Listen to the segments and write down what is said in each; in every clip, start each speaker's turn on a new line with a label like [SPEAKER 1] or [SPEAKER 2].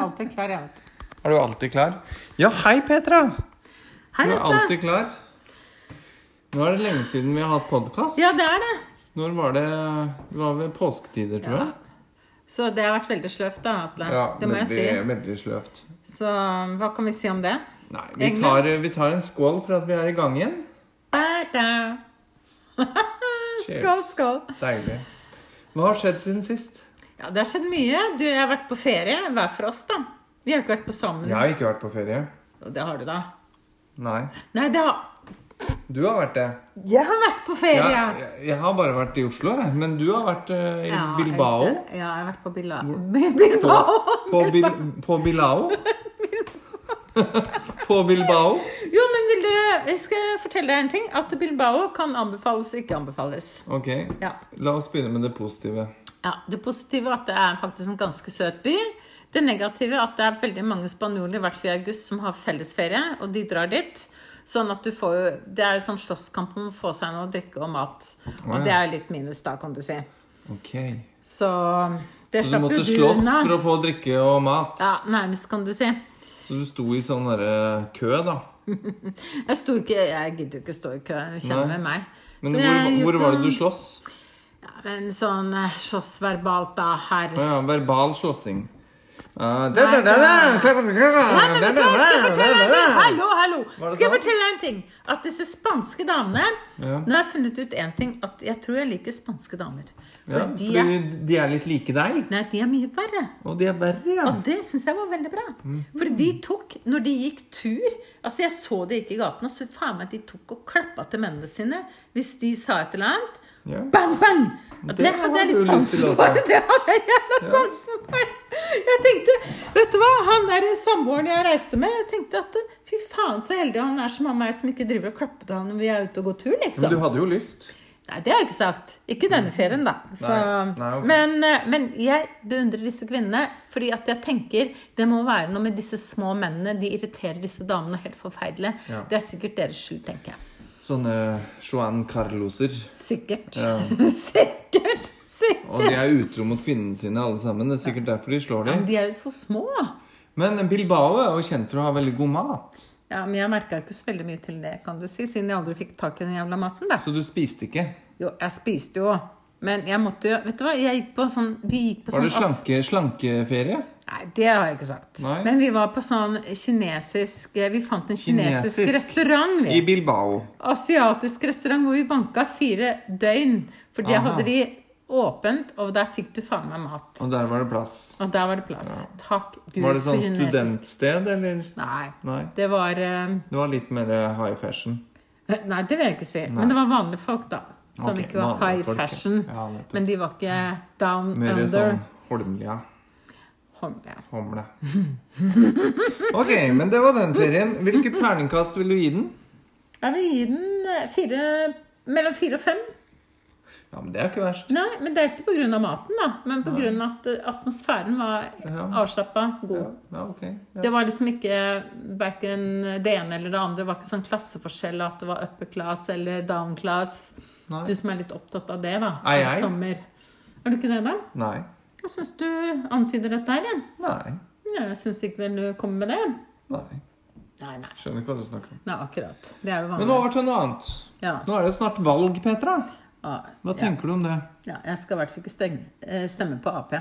[SPEAKER 1] Alltid klar, jeg, vet du.
[SPEAKER 2] Er du alltid klar? Ja, hei, Petra!
[SPEAKER 1] Hei,
[SPEAKER 2] Du er
[SPEAKER 1] Petra.
[SPEAKER 2] alltid klar. Nå er det lenge siden vi har hatt podkast.
[SPEAKER 1] Ja, det er det.
[SPEAKER 2] Når var det Det var ved påsketider, tror jeg.
[SPEAKER 1] Så det har vært veldig sløvt, da, Atle. det må jeg
[SPEAKER 2] veldig,
[SPEAKER 1] si.
[SPEAKER 2] veldig sløvt.
[SPEAKER 1] Så hva kan vi si om det?
[SPEAKER 2] Nei, vi
[SPEAKER 1] Egentlig.
[SPEAKER 2] tar, vi tar en skål for at vi er i gang igjen.
[SPEAKER 1] Da-da. skål,
[SPEAKER 2] Cheers.
[SPEAKER 1] skål.
[SPEAKER 2] Deilig. Hva har skjedd siden sist?
[SPEAKER 1] Ja, det har skjedd mye. Du, jeg har vært på ferie hver for oss, da. Vi har ikke vært på sammen.
[SPEAKER 2] Jeg har ikke vært på ferie.
[SPEAKER 1] Og det har du, da.
[SPEAKER 2] Nei.
[SPEAKER 1] Nei, det har
[SPEAKER 2] Du har vært det.
[SPEAKER 1] Jeg har vært på ferie!
[SPEAKER 2] Jeg, jeg, jeg har bare vært i Oslo, jeg. Men du har vært eh, i
[SPEAKER 1] Ja,
[SPEAKER 2] Bilbao.
[SPEAKER 1] jeg- Ja, jeg har vært på Bila-
[SPEAKER 2] På,
[SPEAKER 1] Bilbao.
[SPEAKER 2] på, bil, på Bilao. på Bilbao.
[SPEAKER 1] Jo, men vil dere Jeg skal fortelle deg en ting. At Bilbao kan anbefales og ikke anbefales.
[SPEAKER 2] Ok.
[SPEAKER 1] Ja.
[SPEAKER 2] La oss begynne med det positive.
[SPEAKER 1] ja. Det positive er at det er faktisk en ganske søt by. Det negative er at det er veldig mange spanjoler, i hvert fall i august, som har fellesferie, og de drar dit. Sånn at du får jo Det er jo sånn slåsskamp om å få seg noe å drikke og mat.
[SPEAKER 2] Å, ja.
[SPEAKER 1] Og det er jo litt minus, da, kan du si.
[SPEAKER 2] Ok.
[SPEAKER 1] Så det
[SPEAKER 2] Så du
[SPEAKER 1] slapp jo
[SPEAKER 2] måtte
[SPEAKER 1] du
[SPEAKER 2] slåss
[SPEAKER 1] unna.
[SPEAKER 2] for å få drikke og mat.
[SPEAKER 1] Ja, nærmest, kan du si.
[SPEAKER 2] Så du sto i sånn derre kø, da.
[SPEAKER 1] Jeg sto ikke Jeg gidder jo ikke stå i kø. Du kjenner
[SPEAKER 2] Nei.
[SPEAKER 1] med meg.
[SPEAKER 2] Men
[SPEAKER 1] Så
[SPEAKER 2] hvor,
[SPEAKER 1] jeg
[SPEAKER 2] hvor
[SPEAKER 1] gjorde-
[SPEAKER 2] var det du sloss?
[SPEAKER 1] Ja, men sånn eh, slåss verbalt, da, her.
[SPEAKER 2] Å ja, verbal slåssing. Uh,
[SPEAKER 1] Nei, Nei, men vet du hva, skal jeg fortelle deg en ting? Hallo, hallo.
[SPEAKER 2] Var det
[SPEAKER 1] Skal jeg
[SPEAKER 2] sant?
[SPEAKER 1] fortelle deg en ting? At disse spanske damene
[SPEAKER 2] Ja.
[SPEAKER 1] Nå har jeg funnet ut én ting. At jeg tror jeg liker spanske damer. For
[SPEAKER 2] Ja,
[SPEAKER 1] de, er,
[SPEAKER 2] fordi de er litt like deg,
[SPEAKER 1] nei, de er mye verre.
[SPEAKER 2] og de er verre, ja. Mm.
[SPEAKER 1] Og det syns jeg var veldig bra. For de tok, når de gikk tur Altså, jeg så de gikk i gaten, og så faen meg de tok og klappa til mennene sine hvis de sa et eller annet.
[SPEAKER 2] Ja.
[SPEAKER 1] Bang, bang! Og
[SPEAKER 2] Det
[SPEAKER 1] det hadde
[SPEAKER 2] har
[SPEAKER 1] jeg
[SPEAKER 2] du
[SPEAKER 1] litt
[SPEAKER 2] lyst til altså.
[SPEAKER 1] sansen for.
[SPEAKER 2] også.
[SPEAKER 1] Det hadde jeg jævla sansen for. Jeg tenkte, vet du hva, han der samboeren jeg reiste med, jeg tenkte at fy faen så heldig han er som har meg, som ikke driver og klapper til han når vi er ute og går tur,
[SPEAKER 2] Men
[SPEAKER 1] liksom.
[SPEAKER 2] du hadde jo lyst.
[SPEAKER 1] Nei, det har jeg ikke sagt. Ikke denne ferien, da. Så,
[SPEAKER 2] Mm. Nei, nei, ok.
[SPEAKER 1] men, eh, men jeg beundrer disse kvinnene, fordi at jeg tenker det må være noe med disse små mennene. De irriterer disse damene helt forferdelig.
[SPEAKER 2] Ja.
[SPEAKER 1] Det er sikkert deres skyld, tenker jeg.
[SPEAKER 2] Sånne Joan Carloser.
[SPEAKER 1] Sikkert.
[SPEAKER 2] Ja.
[SPEAKER 1] sikkert. Sikkert.
[SPEAKER 2] Og de er utro mot kvinnene sine, alle sammen. Det er sikkert derfor de slår dem.
[SPEAKER 1] Men de er jo så små.
[SPEAKER 2] Men Bilbao er jo kjent for å ha veldig god mat.
[SPEAKER 1] Ja, Men jeg merka ikke så veldig mye til det, kan du si, siden jeg aldri fikk tak i den jævla maten. da.
[SPEAKER 2] Så du spiste ikke.
[SPEAKER 1] Jo, jeg spiste jo, men jeg måtte jo Vet du hva, jeg gikk på sånn Vi gikk på
[SPEAKER 2] Var
[SPEAKER 1] sånn
[SPEAKER 2] det slanke, slankeferie?
[SPEAKER 1] Nei, det har jeg ikke sagt.
[SPEAKER 2] Nei.
[SPEAKER 1] Men vi var på sånn kinesisk eh, Vi fant en kinesisk,
[SPEAKER 2] Kinesisk.
[SPEAKER 1] restaurant.
[SPEAKER 2] I
[SPEAKER 1] Vi.
[SPEAKER 2] Bilbao.
[SPEAKER 1] Asiatisk restaurant hvor vi banka fire døgn. For det
[SPEAKER 2] Aha.
[SPEAKER 1] hadde de åpent, og der fikk du faen meg mat.
[SPEAKER 2] Og der var det plass.
[SPEAKER 1] Og der var det plass. Takk Gud
[SPEAKER 2] Var det sånn
[SPEAKER 1] for kinesisk
[SPEAKER 2] studentsted, eller?
[SPEAKER 1] Nei.
[SPEAKER 2] Nei.
[SPEAKER 1] Det var eh,
[SPEAKER 2] Det var litt mer eh, high fashion.
[SPEAKER 1] Nei, det vil jeg ikke si. Men det var vanlige folk, da. Som
[SPEAKER 2] Ok,
[SPEAKER 1] ikke var
[SPEAKER 2] vanlige
[SPEAKER 1] high
[SPEAKER 2] folk, ja.
[SPEAKER 1] fashion.
[SPEAKER 2] Ja, nettopp.
[SPEAKER 1] men de var ikke down
[SPEAKER 2] Mer
[SPEAKER 1] under.
[SPEAKER 2] sånn Holmlia.
[SPEAKER 1] Hånd- ja.
[SPEAKER 2] Homle. Ok, men det var den ferien. Hvilket terningkast vil du gi den?
[SPEAKER 1] Jeg vil gi den eh, fire Mellom fire og fem.
[SPEAKER 2] Ja, men det er ikke verst.
[SPEAKER 1] Nei, men det er ikke pga. maten, da. Men pga. at eh, atmosfæren var
[SPEAKER 2] Ja.
[SPEAKER 1] avslappa, god.
[SPEAKER 2] Ja, ja ok. Ja.
[SPEAKER 1] Det var liksom ikke hverken det ene eller det andre. Det var ikke sånn klasseforskjell at det var upper class eller down class.
[SPEAKER 2] Nei.
[SPEAKER 1] Du som er litt opptatt av det, da.
[SPEAKER 2] Er
[SPEAKER 1] av
[SPEAKER 2] jeg?
[SPEAKER 1] Sommer. Er du ikke det, da?
[SPEAKER 2] Nei.
[SPEAKER 1] Jeg syns du antyder dette her, jeg.
[SPEAKER 2] Nei.
[SPEAKER 1] Jeg syns ikke vel du kommer med det.
[SPEAKER 2] Nei.
[SPEAKER 1] Nei, nei.
[SPEAKER 2] Skjønner ikke hva du snakker om.
[SPEAKER 1] Nei, akkurat. Det er jo
[SPEAKER 2] Men
[SPEAKER 1] vanlig.
[SPEAKER 2] over til noe annet.
[SPEAKER 1] Ja.
[SPEAKER 2] Nå er det snart valg, Petra.
[SPEAKER 1] Ja.
[SPEAKER 2] Hva tenker du om det?
[SPEAKER 1] ja. Jeg skal i hvert fall ikke stenge, eh, stemme på Ap.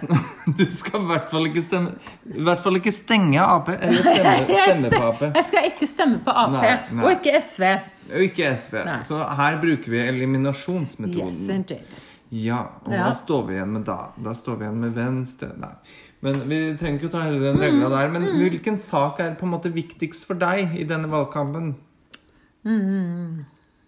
[SPEAKER 2] Du skal i hvert fall ikke stemme I hvert fall ikke stenge Ap. Eller stemme, stemme på Ap.
[SPEAKER 1] Jeg skal ikke stemme på Ap,
[SPEAKER 2] Nei, nei.
[SPEAKER 1] og ikke SV.
[SPEAKER 2] Og ikke SV.
[SPEAKER 1] Nei.
[SPEAKER 2] Så her bruker vi eliminasjonsmetoden.
[SPEAKER 1] Yes, indeed.
[SPEAKER 2] Ja, og
[SPEAKER 1] Ja.
[SPEAKER 2] hva står vi igjen med da? Da står vi igjen med venstre Nei. Men vi trenger ikke å ta hele den
[SPEAKER 1] Mm.
[SPEAKER 2] regla der. Men hvilken sak er på en måte viktigst for deg i denne valgkampen?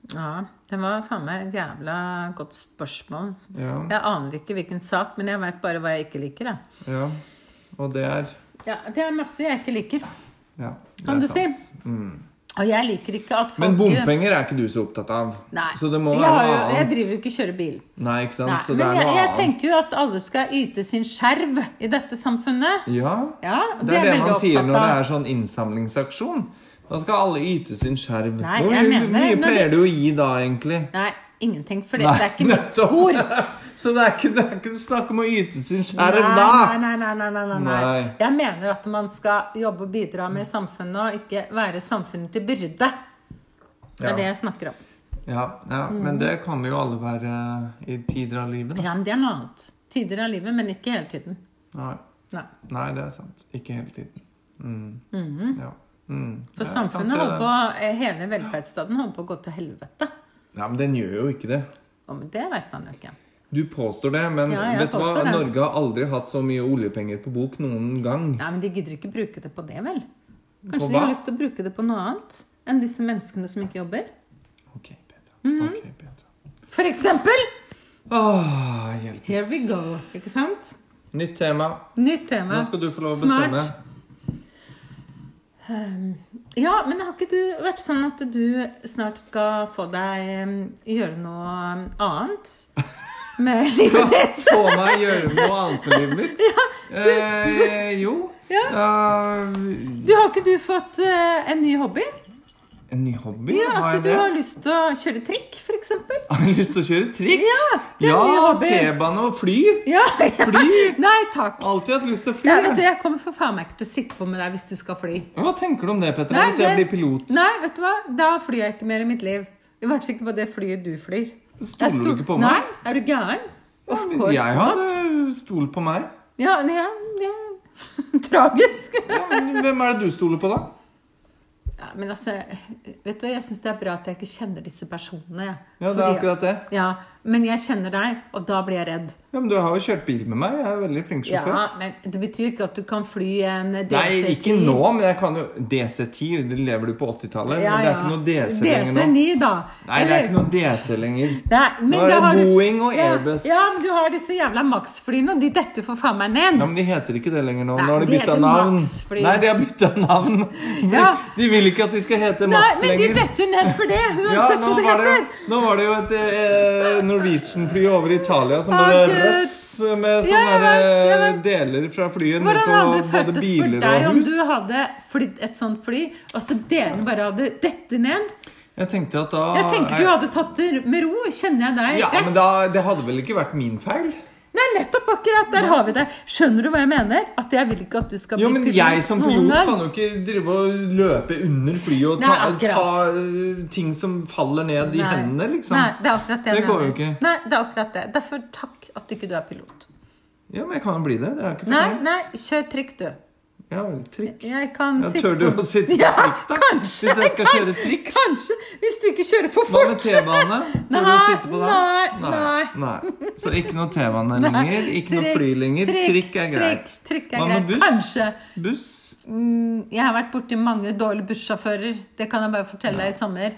[SPEAKER 1] Ja, det var faen meg et jævla godt spørsmål.
[SPEAKER 2] Ja.
[SPEAKER 1] Jeg aner ikke hvilken sak, men jeg veit bare hva jeg ikke liker. Da.
[SPEAKER 2] ja. Og det er
[SPEAKER 1] Ja, det er masse jeg ikke liker,
[SPEAKER 2] Ja. det
[SPEAKER 1] kan
[SPEAKER 2] er
[SPEAKER 1] du
[SPEAKER 2] sant. Mm.
[SPEAKER 1] si. Og jeg liker ikke at folk
[SPEAKER 2] Men bompenger er ikke du så opptatt av.
[SPEAKER 1] Nei.
[SPEAKER 2] Så det må
[SPEAKER 1] jeg,
[SPEAKER 2] være
[SPEAKER 1] har jo,
[SPEAKER 2] noe
[SPEAKER 1] jeg
[SPEAKER 2] annet.
[SPEAKER 1] driver jo ikke og kjører bil.
[SPEAKER 2] Nei, ikke sant?
[SPEAKER 1] Nei,
[SPEAKER 2] så det
[SPEAKER 1] men
[SPEAKER 2] er noe
[SPEAKER 1] jeg, jeg
[SPEAKER 2] annet.
[SPEAKER 1] tenker jo at alle skal yte sin skjerv i dette samfunnet.
[SPEAKER 2] Ja.
[SPEAKER 1] Ja, og
[SPEAKER 2] Det
[SPEAKER 1] jeg
[SPEAKER 2] er det
[SPEAKER 1] veldig
[SPEAKER 2] man sier
[SPEAKER 1] opptatt
[SPEAKER 2] når det
[SPEAKER 1] av.
[SPEAKER 2] er sånn innsamlingsaksjon. Da skal alle yte sin skjerv.
[SPEAKER 1] Nei,
[SPEAKER 2] Hvor
[SPEAKER 1] jeg mener
[SPEAKER 2] mye
[SPEAKER 1] det. Når
[SPEAKER 2] pleier
[SPEAKER 1] de-
[SPEAKER 2] du å gi da, egentlig?
[SPEAKER 1] Nei, ingenting, for det
[SPEAKER 2] Nei,
[SPEAKER 1] er ikke mitt
[SPEAKER 2] nettopp.
[SPEAKER 1] ord.
[SPEAKER 2] Så det er ikke, det er ikke snakk om å yte sin
[SPEAKER 1] Nei,
[SPEAKER 2] skjerv da!
[SPEAKER 1] Nei, nei, nei, nei, nei, nei.
[SPEAKER 2] Nei.
[SPEAKER 1] Jeg mener at man skal jobbe og bidra med samfunnet, og ikke være samfunnet til byrde. Det er
[SPEAKER 2] Ja.
[SPEAKER 1] det jeg snakker om.
[SPEAKER 2] Ja, ja,
[SPEAKER 1] Mm.
[SPEAKER 2] men det kan vi jo alle være eh, i tider av livet. da.
[SPEAKER 1] Ja, men Det er noe annet. Tider av livet, men ikke hele tiden.
[SPEAKER 2] Nei,
[SPEAKER 1] Nei.
[SPEAKER 2] nei, det er sant. Ikke hele tiden. Mm. Ja. Mm.
[SPEAKER 1] Mm-hmm. For
[SPEAKER 2] Jeg kan
[SPEAKER 1] samfunnet
[SPEAKER 2] se
[SPEAKER 1] holder
[SPEAKER 2] den.
[SPEAKER 1] på, eh, hele velferdsstaten holder på å gå til helvete.
[SPEAKER 2] Ja, men den gjør jo ikke det.
[SPEAKER 1] Og men det vet man jo ikke.
[SPEAKER 2] Du påstår det, men
[SPEAKER 1] Ja, jeg
[SPEAKER 2] vet du hva?
[SPEAKER 1] påstår det.
[SPEAKER 2] Norge har aldri hatt så mye oljepenger på bok noen gang.
[SPEAKER 1] Nei, men de gidder ikke bruke det på det, vel?
[SPEAKER 2] På
[SPEAKER 1] Kanskje de har
[SPEAKER 2] hva?
[SPEAKER 1] lyst til å bruke det på noe annet enn disse menneskene som ikke jobber?
[SPEAKER 2] Ok, Petra.
[SPEAKER 1] Mm-hmm.
[SPEAKER 2] Ok, Petra.
[SPEAKER 1] For eksempel!
[SPEAKER 2] Åh,
[SPEAKER 1] Here
[SPEAKER 2] hjelpes.
[SPEAKER 1] we go. Ikke sant?
[SPEAKER 2] Ah, Nytt tema.
[SPEAKER 1] Nytt tema.
[SPEAKER 2] Nå skal du få lov å
[SPEAKER 1] Smart.
[SPEAKER 2] bestemme.
[SPEAKER 1] Ehm, Ja, men har ikke du vært sånn at du snart skal få deg um, gjøre noe um, annet med livet ditt?
[SPEAKER 2] Få meg gjøre noe annet med livet mitt? Eh, jo. Eh,
[SPEAKER 1] Du, har ikke du fått eh, en ny hobby?
[SPEAKER 2] en ny hobby?
[SPEAKER 1] Ja,
[SPEAKER 2] har jeg
[SPEAKER 1] At du
[SPEAKER 2] det?
[SPEAKER 1] har lyst til å kjøre trikk, f.eks.?
[SPEAKER 2] Har jeg lyst til å kjøre trikk?
[SPEAKER 1] Ja, det er en ny
[SPEAKER 2] Ja,
[SPEAKER 1] hobby.
[SPEAKER 2] T-bane og fly.
[SPEAKER 1] Ja, ja.
[SPEAKER 2] Fly.
[SPEAKER 1] Nei takk.
[SPEAKER 2] Alltid hatt lyst til å fly.
[SPEAKER 1] Ja, vet du,
[SPEAKER 2] jeg.
[SPEAKER 1] jeg kommer for faen meg ikke til å sitte på med deg hvis du skal fly.
[SPEAKER 2] Hva tenker du om det, Petra?
[SPEAKER 1] Nei,
[SPEAKER 2] Hvis jeg
[SPEAKER 1] det-
[SPEAKER 2] blir pilot,
[SPEAKER 1] Nei, vet du hva? Da flyr jeg ikke mer i mitt liv. I hvert fall ikke på det flyet du flyr. Jeg
[SPEAKER 2] stoler du
[SPEAKER 1] sto-
[SPEAKER 2] ikke på meg?
[SPEAKER 1] Nei, er du gæren? Of
[SPEAKER 2] Ja, men
[SPEAKER 1] course
[SPEAKER 2] jeg
[SPEAKER 1] not.
[SPEAKER 2] hadde stolt på meg.
[SPEAKER 1] Ja, ja, ja. Tragisk.
[SPEAKER 2] Ja, men hvem er det du stoler på, da?
[SPEAKER 1] Ja, men altså, vet du hva, jeg syns det er bra at jeg ikke kjenner disse personene. jeg.
[SPEAKER 2] Ja, det er
[SPEAKER 1] Fordi-
[SPEAKER 2] akkurat det.
[SPEAKER 1] Ja, Men jeg kjenner deg, og da blir jeg redd.
[SPEAKER 2] Ja, men Du har jo kjørt bil med meg. Jeg er veldig flink sjåfør.
[SPEAKER 1] Ja, Men det betyr ikke at du kan fly en DC-10.
[SPEAKER 2] Nei, ikke nå, men jeg kan jo DC10, det lever du på
[SPEAKER 1] Ja,
[SPEAKER 2] 80-tallet? Det
[SPEAKER 1] ja.
[SPEAKER 2] er ikke noe DC lenger nå.
[SPEAKER 1] DC-9, da.
[SPEAKER 2] Nei, det er ikke noe DC lenger.
[SPEAKER 1] Nei, men
[SPEAKER 2] Nå
[SPEAKER 1] da
[SPEAKER 2] er det
[SPEAKER 1] har du-
[SPEAKER 2] Boeing og
[SPEAKER 1] ja,
[SPEAKER 2] Airbus.
[SPEAKER 1] Ja, men du har disse jævla Max-flyene, og de detter for faen meg ned.
[SPEAKER 2] Ja, men de heter ikke det lenger nå.
[SPEAKER 1] Nei,
[SPEAKER 2] nå har de
[SPEAKER 1] de
[SPEAKER 2] bytta
[SPEAKER 1] heter
[SPEAKER 2] navn.
[SPEAKER 1] Max, fordi-
[SPEAKER 2] Nei, de har bytta navn. Fordi
[SPEAKER 1] Ja.
[SPEAKER 2] De vil ikke at de skal hete
[SPEAKER 1] Nei,
[SPEAKER 2] Max
[SPEAKER 1] men de
[SPEAKER 2] lenger.
[SPEAKER 1] detter ned for det,
[SPEAKER 2] Ja,
[SPEAKER 1] uansett
[SPEAKER 2] nå
[SPEAKER 1] hva det
[SPEAKER 2] var, det jo,
[SPEAKER 1] heter.
[SPEAKER 2] nå var det jo et eh, Norwegian-fly over Italia som
[SPEAKER 1] Å,
[SPEAKER 2] bare
[SPEAKER 1] Gud.
[SPEAKER 2] røss med
[SPEAKER 1] Ja,
[SPEAKER 2] sånne
[SPEAKER 1] jeg
[SPEAKER 2] der,
[SPEAKER 1] vet, jeg
[SPEAKER 2] eh,
[SPEAKER 1] vet.
[SPEAKER 2] deler fra flyet ned
[SPEAKER 1] Hvordan
[SPEAKER 2] på
[SPEAKER 1] hadde det
[SPEAKER 2] både
[SPEAKER 1] føltes for
[SPEAKER 2] biler
[SPEAKER 1] deg
[SPEAKER 2] og
[SPEAKER 1] om
[SPEAKER 2] hus.
[SPEAKER 1] du hadde flydd et sånt fly, og så delen bare hadde dette ned?
[SPEAKER 2] Jeg tenkte at da
[SPEAKER 1] Jeg tenker
[SPEAKER 2] er-
[SPEAKER 1] du hadde tatt det med ro. Kjenner jeg deg
[SPEAKER 2] Ah, Ja,
[SPEAKER 1] rett?
[SPEAKER 2] men da, det hadde vel ikke vært min feil?
[SPEAKER 1] Nei, nettopp akkurat! Der har vi det. Skjønner du hva jeg mener? At jeg vil ikke at du skal
[SPEAKER 2] Jo,
[SPEAKER 1] bli
[SPEAKER 2] men jeg som
[SPEAKER 1] noen
[SPEAKER 2] pilot
[SPEAKER 1] gang.
[SPEAKER 2] kan jo ikke drive og løpe under flyet og ta,
[SPEAKER 1] Nei, akkurat.
[SPEAKER 2] ta øh, ting som faller ned i
[SPEAKER 1] Nei.
[SPEAKER 2] hendene, liksom.
[SPEAKER 1] Nei, det er akkurat det, jeg
[SPEAKER 2] Det går jo
[SPEAKER 1] mener.
[SPEAKER 2] ikke.
[SPEAKER 1] Nei, det er akkurat det. Derfor takk at ikke du er pilot.
[SPEAKER 2] Ja, men jeg kan jo bli det. Det er ikke for
[SPEAKER 1] Nei,
[SPEAKER 2] sent.
[SPEAKER 1] nei, kjør trikk, du.
[SPEAKER 2] Ja, vel, trikk.
[SPEAKER 1] Jeg kan
[SPEAKER 2] Ja,
[SPEAKER 1] sitte
[SPEAKER 2] tør du å sitte på
[SPEAKER 1] ja,
[SPEAKER 2] trikk, da?
[SPEAKER 1] Kanskje,
[SPEAKER 2] Hvis jeg skal
[SPEAKER 1] kan-
[SPEAKER 2] kjøre trikk?
[SPEAKER 1] Kanskje! Hvis du ikke kjører for
[SPEAKER 2] Hva
[SPEAKER 1] fort!
[SPEAKER 2] med T-bane? Tør du å
[SPEAKER 1] Nei,
[SPEAKER 2] sitte på
[SPEAKER 1] nei,
[SPEAKER 2] den? nei. nei. Så ikke noe T-bane
[SPEAKER 1] Nei.
[SPEAKER 2] lenger, ikke noe
[SPEAKER 1] Trikk,
[SPEAKER 2] fly lenger.
[SPEAKER 1] trikk,
[SPEAKER 2] Trikk er greit.
[SPEAKER 1] Trikk, trikk er
[SPEAKER 2] Hva med
[SPEAKER 1] greit.
[SPEAKER 2] buss?
[SPEAKER 1] Kanskje.
[SPEAKER 2] Buss?
[SPEAKER 1] Mm, Jeg har vært borti mange dårlige bussjåfører. Det kan jeg bare fortelle deg i sommer.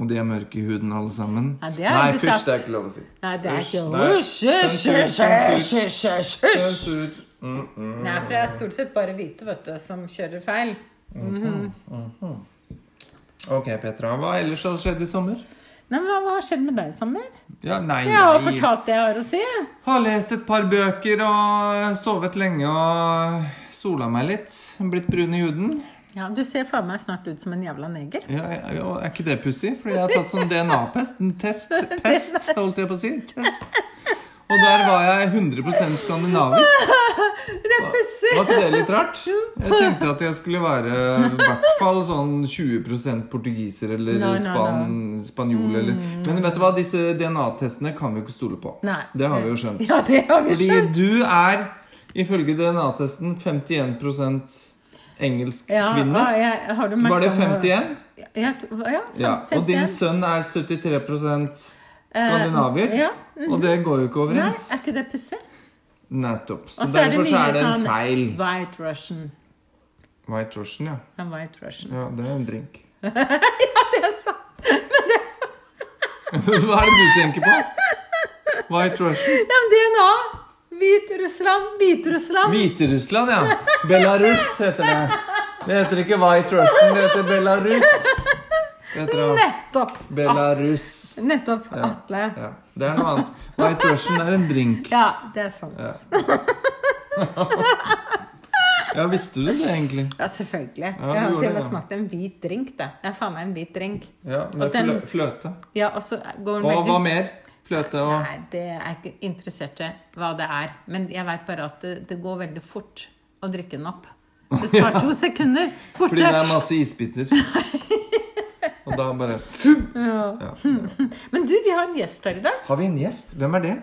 [SPEAKER 2] Og de er mørke i huden, alle sammen.
[SPEAKER 1] Nei, det er
[SPEAKER 2] Nei,
[SPEAKER 1] ikke sant.
[SPEAKER 2] fysj, det er ikke lov å si.
[SPEAKER 1] Nei, det er ikke
[SPEAKER 2] Nei.
[SPEAKER 1] Hysj, hysj,
[SPEAKER 2] Sensur,
[SPEAKER 1] hysj, hysj,
[SPEAKER 2] sensur,
[SPEAKER 1] hysj, hysj, hysj.
[SPEAKER 2] sensur. Mm, mm.
[SPEAKER 1] Nei, for det er stort sett bare hvite vet du, som kjører feil.
[SPEAKER 2] Ok, Petra. Hva ellers har skjedd i sommer?
[SPEAKER 1] Nei, men Hva hva har skjedd med deg i sommer?
[SPEAKER 2] Ja, nei,
[SPEAKER 1] Jeg har
[SPEAKER 2] nei.
[SPEAKER 1] fortalt det jeg har å si.
[SPEAKER 2] Har lest et par bøker og sovet lenge og sola meg litt. Blitt brun i huden.
[SPEAKER 1] Ja, Du ser faen meg snart ut som en jævla neger.
[SPEAKER 2] Ja, ja, ja, er ikke det pussig? Fordi jeg har tatt sånn DNA-pest. en Test. Pest, holdt jeg på å si. Test. Og der var jeg 100 skandinavisk.
[SPEAKER 1] Det er pussig!
[SPEAKER 2] Var ikke det litt rart? Jeg tenkte at jeg skulle være i hvert fall sånn 20 portugiser eller
[SPEAKER 1] Nei, nei,
[SPEAKER 2] span, spanjol eller Men vet du hva, disse DNA-testene kan vi jo ikke stole på.
[SPEAKER 1] Nei.
[SPEAKER 2] Det har vi jo skjønt.
[SPEAKER 1] Ja, det har vi
[SPEAKER 2] Fordi
[SPEAKER 1] skjønt.
[SPEAKER 2] du er, ifølge DNA-testen, 51 engelsk
[SPEAKER 1] Ja,
[SPEAKER 2] kvinne.
[SPEAKER 1] ja, jeg, har du merket
[SPEAKER 2] Var det
[SPEAKER 1] noe-
[SPEAKER 2] 51?
[SPEAKER 1] Ja, to- ja,
[SPEAKER 2] Ja. Og
[SPEAKER 1] 51.
[SPEAKER 2] din sønn er 73 skandinaver.
[SPEAKER 1] Eh, ja.
[SPEAKER 2] Og det går jo ikke
[SPEAKER 1] Nei,
[SPEAKER 2] overens.
[SPEAKER 1] er ikke det pussig?
[SPEAKER 2] Nettopp. Så
[SPEAKER 1] Og så er det
[SPEAKER 2] derfor så
[SPEAKER 1] mye
[SPEAKER 2] er det en
[SPEAKER 1] sånn
[SPEAKER 2] feil.
[SPEAKER 1] White Russian.
[SPEAKER 2] White Russian, ja.
[SPEAKER 1] En white Russian.
[SPEAKER 2] ja. Det er en drink.
[SPEAKER 1] Det er sant.
[SPEAKER 2] Hva er det du tenker på? White Russian.
[SPEAKER 1] Ja, men DNA! Hvit-Russland, Hvit-Russland.
[SPEAKER 2] Hviterussland, ja. Belarus heter det. Det heter ikke White Russian, det heter Belarus. Det heter det.
[SPEAKER 1] Nettopp.
[SPEAKER 2] Belarus.
[SPEAKER 1] At- Nettopp. Atle.
[SPEAKER 2] Ja, Det er noe annet. White Russian er en drink.
[SPEAKER 1] Ja, det er sant. Ja,
[SPEAKER 2] Ja, visste du det egentlig?
[SPEAKER 1] selvfølgelig.
[SPEAKER 2] du
[SPEAKER 1] jeg har til
[SPEAKER 2] gjorde
[SPEAKER 1] og med
[SPEAKER 2] det, ja.
[SPEAKER 1] smakt en hvit drink, det. Det er faen meg en hvit drink.
[SPEAKER 2] Ja, med
[SPEAKER 1] Og den-
[SPEAKER 2] flø- fløte.
[SPEAKER 1] Ja, og så går den
[SPEAKER 2] Og hva
[SPEAKER 1] veldig
[SPEAKER 2] mer? Fløte og
[SPEAKER 1] Nei, det er jeg ikke interessert i hva det er. Men jeg veit bare at det, det går veldig fort å drikke den opp. Det tar to sekunder.
[SPEAKER 2] Fordi
[SPEAKER 1] Borte.
[SPEAKER 2] det er masse isbiter. Og da bare ja.
[SPEAKER 1] Men du, vi har en gjest her i dag.
[SPEAKER 2] Har vi en gjest? Hvem er det?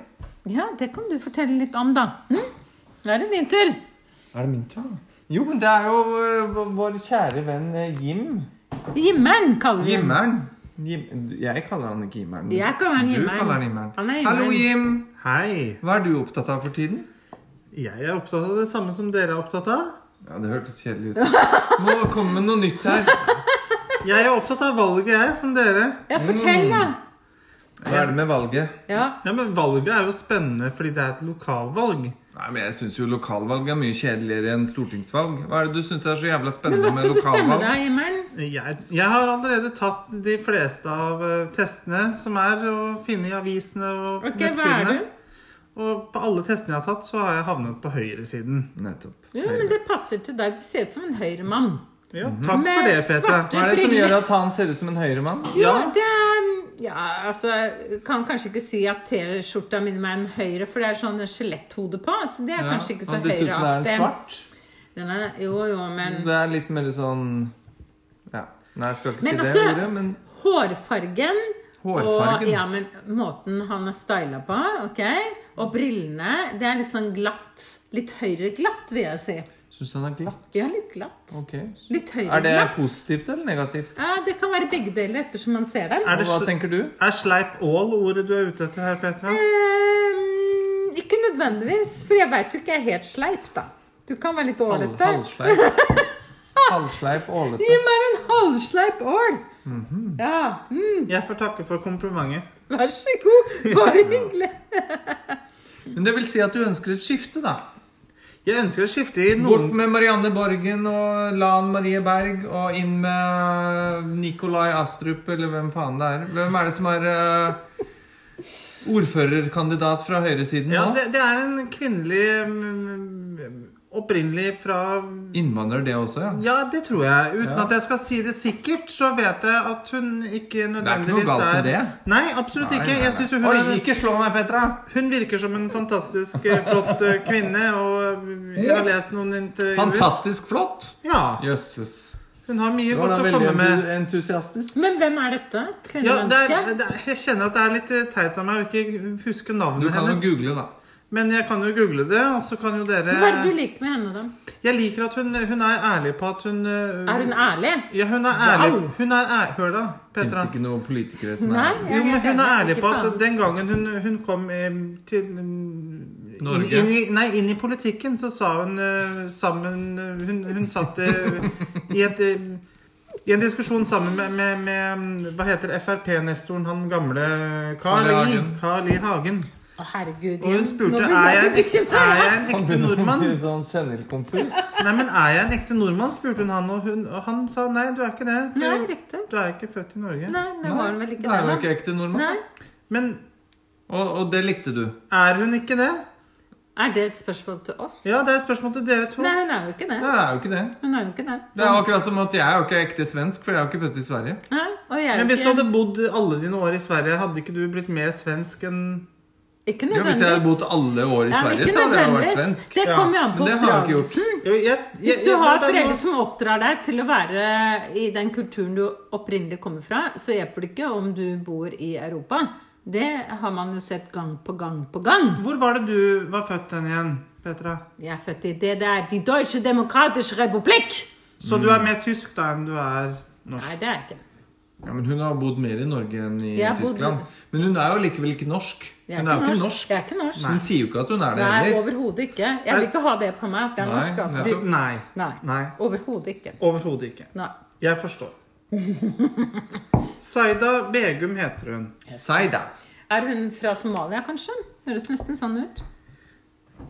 [SPEAKER 1] Ja, det kan du fortelle litt om, da. Hm? Nå er det din tur.
[SPEAKER 2] Er det min tur, da? Jo, men det er jo eh, vår kjære venn eh, Jim.
[SPEAKER 1] Jimmeren kaller vi ham.
[SPEAKER 2] Jimmeren. Jim. Jeg kaller han ikke Jimmeren.
[SPEAKER 1] Jeg kaller han Jimmeren.
[SPEAKER 2] Du kaller han Jimmeren.
[SPEAKER 1] Han er Jimmeren.
[SPEAKER 2] Hallo, Jim.
[SPEAKER 3] Hei.
[SPEAKER 2] Hva er du opptatt av for tiden?
[SPEAKER 3] Jeg er opptatt av det samme som dere er opptatt av.
[SPEAKER 2] Ja, Det hørtes kjedelig ut. Må komme med noe nytt her.
[SPEAKER 3] Jeg er opptatt av valget, jeg, som dere.
[SPEAKER 1] Ja, fortell, da.
[SPEAKER 2] Mm. Hva er det med valget?
[SPEAKER 1] Ja.
[SPEAKER 3] Ja, Men valget er jo spennende fordi det er et lokalvalg.
[SPEAKER 2] Nei, men Jeg syns jo lokalvalg er mye kjedeligere enn stortingsvalg. Hva er det du syns er så jævla
[SPEAKER 1] Men
[SPEAKER 2] spennende
[SPEAKER 1] hva
[SPEAKER 2] med
[SPEAKER 1] skal du stemme,
[SPEAKER 2] lokalvalg?
[SPEAKER 1] da, Jimmeren?
[SPEAKER 3] Jeg, jeg har allerede tatt de fleste av eh, testene som er å finne i avisene og
[SPEAKER 1] Ok, hva er
[SPEAKER 3] nettsidene.
[SPEAKER 1] du?
[SPEAKER 3] Og på alle testene jeg har tatt, så har jeg havnet på høyresiden.
[SPEAKER 2] Nettopp.
[SPEAKER 1] Jo, men det passer til deg. Du ser ut som en høyremann.
[SPEAKER 3] Ja, Mhm. takk
[SPEAKER 1] Med
[SPEAKER 3] for det,
[SPEAKER 1] svarte-
[SPEAKER 3] Petra.
[SPEAKER 2] Hva er det som gjør at han ser ut som en høyremann?
[SPEAKER 1] Jo,
[SPEAKER 3] Ja.
[SPEAKER 1] det er Ja, altså jeg Kan kanskje ikke si at T-skjorta minner meg om høyre, for det er sånn skjeletthode på, så det er kanskje ikke så
[SPEAKER 2] og dessuten er han
[SPEAKER 1] høyreaktig.
[SPEAKER 2] svart. Mm.
[SPEAKER 1] Den er, jo, jo, men
[SPEAKER 2] Det er litt mer sånn Ja. Nei, jeg skal ikke
[SPEAKER 1] Men
[SPEAKER 2] si det
[SPEAKER 1] altså-
[SPEAKER 2] ordet, men
[SPEAKER 1] Hårfargen, og
[SPEAKER 2] Hårfargen.
[SPEAKER 1] ja, men måten han er styla på, ok? Og brillene. Det er litt sånn glatt. Litt høyere glatt, vil jeg si.
[SPEAKER 2] syns han er glatt.
[SPEAKER 1] Ja, litt glatt.
[SPEAKER 2] Ok.
[SPEAKER 1] Litt høyere
[SPEAKER 2] Er det
[SPEAKER 1] glatt.
[SPEAKER 2] positivt eller negativt?
[SPEAKER 1] Ja, det kan være begge deler ettersom man ser dem.
[SPEAKER 3] Er
[SPEAKER 2] Og
[SPEAKER 3] det
[SPEAKER 2] hva
[SPEAKER 3] sl-
[SPEAKER 2] tenker du?
[SPEAKER 3] Er sleip ål ordet du er ute etter her, Petra?
[SPEAKER 1] Ehm, ikke nødvendigvis, for jeg veit jo ikke jeg er helt sleip, da. Du kan være litt
[SPEAKER 2] Hal-
[SPEAKER 1] ålete.
[SPEAKER 2] Halvsleip. Halvsleip ålete.
[SPEAKER 1] Gi meg en halvsleip ål!
[SPEAKER 3] Mhm.
[SPEAKER 1] Ja. Mm,
[SPEAKER 3] Jeg får takke for komplimentet.
[SPEAKER 1] vær så god. Bare hyggelig.
[SPEAKER 2] Men det vil si at du ønsker et skifte, da?
[SPEAKER 3] Jeg ønsker å skifte i noen
[SPEAKER 2] Bort med Marianne Borgen og Lan Marie Berg og inn med Nikolai Astrup eller hvem faen det er. Hvem er det som er eh, ordførerkandidat fra høyresiden
[SPEAKER 3] Ja,
[SPEAKER 2] nå?
[SPEAKER 3] det, det er en kvinnelig mm, Opprinnelig fra
[SPEAKER 2] Innvandrer, det også, ja.
[SPEAKER 3] Ja, det tror jeg. Uten
[SPEAKER 2] Ja.
[SPEAKER 3] at jeg skal si det sikkert, så vet jeg at hun ikke nødvendigvis
[SPEAKER 2] galt med
[SPEAKER 3] er
[SPEAKER 2] det.
[SPEAKER 3] Nei, absolutt
[SPEAKER 2] Nei,
[SPEAKER 3] ikke.
[SPEAKER 2] nei,
[SPEAKER 3] Jeg
[SPEAKER 2] nei.
[SPEAKER 3] synes jo hun,
[SPEAKER 2] Oi, ikke slå meg, Petra!
[SPEAKER 3] hun virker som en fantastisk eh, flott eh, kvinne, og eh, jeg har lest noen intervjuer.
[SPEAKER 2] Fantastisk flott!
[SPEAKER 3] Ja.
[SPEAKER 2] Jøsses.
[SPEAKER 3] Hun har mye
[SPEAKER 2] Du var
[SPEAKER 3] godt
[SPEAKER 2] da
[SPEAKER 3] å
[SPEAKER 2] veldig
[SPEAKER 3] komme med.
[SPEAKER 2] entu- entusiastisk.
[SPEAKER 1] Men hvem er dette?
[SPEAKER 3] Ja, det
[SPEAKER 1] Kvinnemenneske?
[SPEAKER 3] er, det er, jeg kjenner at det er litt eh, teit av meg å ikke huske
[SPEAKER 2] Du
[SPEAKER 3] navnet
[SPEAKER 2] kan jo
[SPEAKER 3] hennes.
[SPEAKER 2] google, da.
[SPEAKER 3] Men jeg kan jo google det, og så kan jo dere
[SPEAKER 1] Hva er det du liker med henne, da?
[SPEAKER 3] Jeg liker at hun, hun er ærlig på at hun eh,
[SPEAKER 1] Er hun ærlig?
[SPEAKER 3] Ja, hun er ærlig.
[SPEAKER 1] Wow.
[SPEAKER 3] Hun er ær... Hør da, Petra.
[SPEAKER 2] Fins ikke noen politikere som
[SPEAKER 1] Nei?
[SPEAKER 2] er
[SPEAKER 1] jeg
[SPEAKER 3] Jo, men
[SPEAKER 1] vet
[SPEAKER 3] hun er
[SPEAKER 1] ikke,
[SPEAKER 3] ærlig
[SPEAKER 1] ikke
[SPEAKER 3] på at
[SPEAKER 1] faen.
[SPEAKER 3] den gangen hun, hun kom eh, til mm,
[SPEAKER 2] Norge.
[SPEAKER 3] Inn, inn, i- nei, inn i politikken, så sa hun eh, sammen eh, Hun, hun satt eh, i, et, eh, i en diskusjon sammen med, med, med mm, Hva heter Frp-nestoren, han gamle
[SPEAKER 2] Carl I.
[SPEAKER 3] Carl I.
[SPEAKER 2] Hagen.
[SPEAKER 3] Carl I. Hagen.
[SPEAKER 1] Å, herregud.
[SPEAKER 3] Og hun
[SPEAKER 1] Jens, nå
[SPEAKER 3] spurte
[SPEAKER 1] blir
[SPEAKER 3] er jeg, en
[SPEAKER 1] litt
[SPEAKER 3] ekte,
[SPEAKER 1] bekymret.
[SPEAKER 3] er jeg en ekte nordmann.
[SPEAKER 2] Sånn senderkonfus.
[SPEAKER 3] Nei, men er jeg en ekte nordmann? spurte hun han, og, hun, og han sa nei, du er ikke det.
[SPEAKER 1] Nei,
[SPEAKER 3] for
[SPEAKER 1] riktig.
[SPEAKER 3] Du er ikke født i Norge.
[SPEAKER 1] Nei, det var hun vel ikke.
[SPEAKER 2] Det er jo
[SPEAKER 1] da.
[SPEAKER 2] ikke ekte nordmann.
[SPEAKER 1] Nei.
[SPEAKER 3] Men
[SPEAKER 2] Og, og det likte du.
[SPEAKER 3] er hun ikke det?
[SPEAKER 1] Er det et spørsmål til oss?
[SPEAKER 3] Ja, det er et spørsmål til dere to.
[SPEAKER 1] Nei, hun er jo ikke det.
[SPEAKER 2] Det er jo ikke det.
[SPEAKER 1] Hun er jo ikke det.
[SPEAKER 2] Det er akkurat som at jeg er jo ikke ekte svensk, for jeg er jo ikke født i Sverige.
[SPEAKER 1] Nei, og jeg
[SPEAKER 3] Men
[SPEAKER 1] er
[SPEAKER 3] hvis du
[SPEAKER 1] ikke,
[SPEAKER 3] hadde bodd alle dine år i Sverige, hadde ikke du blitt mer svensk enn
[SPEAKER 1] ikke
[SPEAKER 2] Jo, hvis jeg hadde bodd
[SPEAKER 1] nødvendigvis.
[SPEAKER 2] alle år
[SPEAKER 1] Ja,
[SPEAKER 2] i
[SPEAKER 1] men
[SPEAKER 2] Sverige,
[SPEAKER 1] ikke
[SPEAKER 2] så hadde jeg jo vært
[SPEAKER 1] nødvendigvis.
[SPEAKER 2] svensk.
[SPEAKER 1] Det
[SPEAKER 3] Ja,
[SPEAKER 1] kommer jo an
[SPEAKER 2] men
[SPEAKER 1] på
[SPEAKER 2] det har jeg ikke gjort.
[SPEAKER 1] oppdragelsen.
[SPEAKER 3] Jo, jeg- jeg-
[SPEAKER 1] Hvis du
[SPEAKER 3] jeg-
[SPEAKER 1] har
[SPEAKER 3] det er noe-
[SPEAKER 1] foreldre som oppdrar deg til å være i den kulturen du opprinnelig kommer fra, så hjelper det ikke om du bor i Europa. Det har man jo sett gang på gang på gang.
[SPEAKER 3] Hvor var det du var født den igjen, Petra?
[SPEAKER 1] Jeg er født i det der Die Deutsche Demokratische Republikk!
[SPEAKER 3] Så du er mer tysk da enn du er norsk?
[SPEAKER 1] Nei, det er jeg ikke.
[SPEAKER 2] Ja, men Hun har bodd mer i Norge enn i
[SPEAKER 1] Jeg har bodd-
[SPEAKER 2] Tyskland. Men hun er jo likevel ikke norsk.
[SPEAKER 1] Jeg
[SPEAKER 2] Hun er jo ikke norsk.
[SPEAKER 1] Jeg er ikke norsk.
[SPEAKER 2] Hun sier jo ikke at hun er det
[SPEAKER 1] Nei,
[SPEAKER 2] heller.
[SPEAKER 1] overhodet ikke. Jeg vil ikke ha det på meg at jeg er
[SPEAKER 2] Nei,
[SPEAKER 1] norsk, altså.
[SPEAKER 2] nei.
[SPEAKER 3] De- Nei.
[SPEAKER 1] Nei.
[SPEAKER 3] Nei.
[SPEAKER 1] Overhodet ikke.
[SPEAKER 3] Overhodet ikke.
[SPEAKER 1] Nei.
[SPEAKER 3] Jeg forstår. Saida Begum heter hun.
[SPEAKER 2] Saida.
[SPEAKER 1] Er hun fra Somalia, kanskje? Høres nesten sånn ut.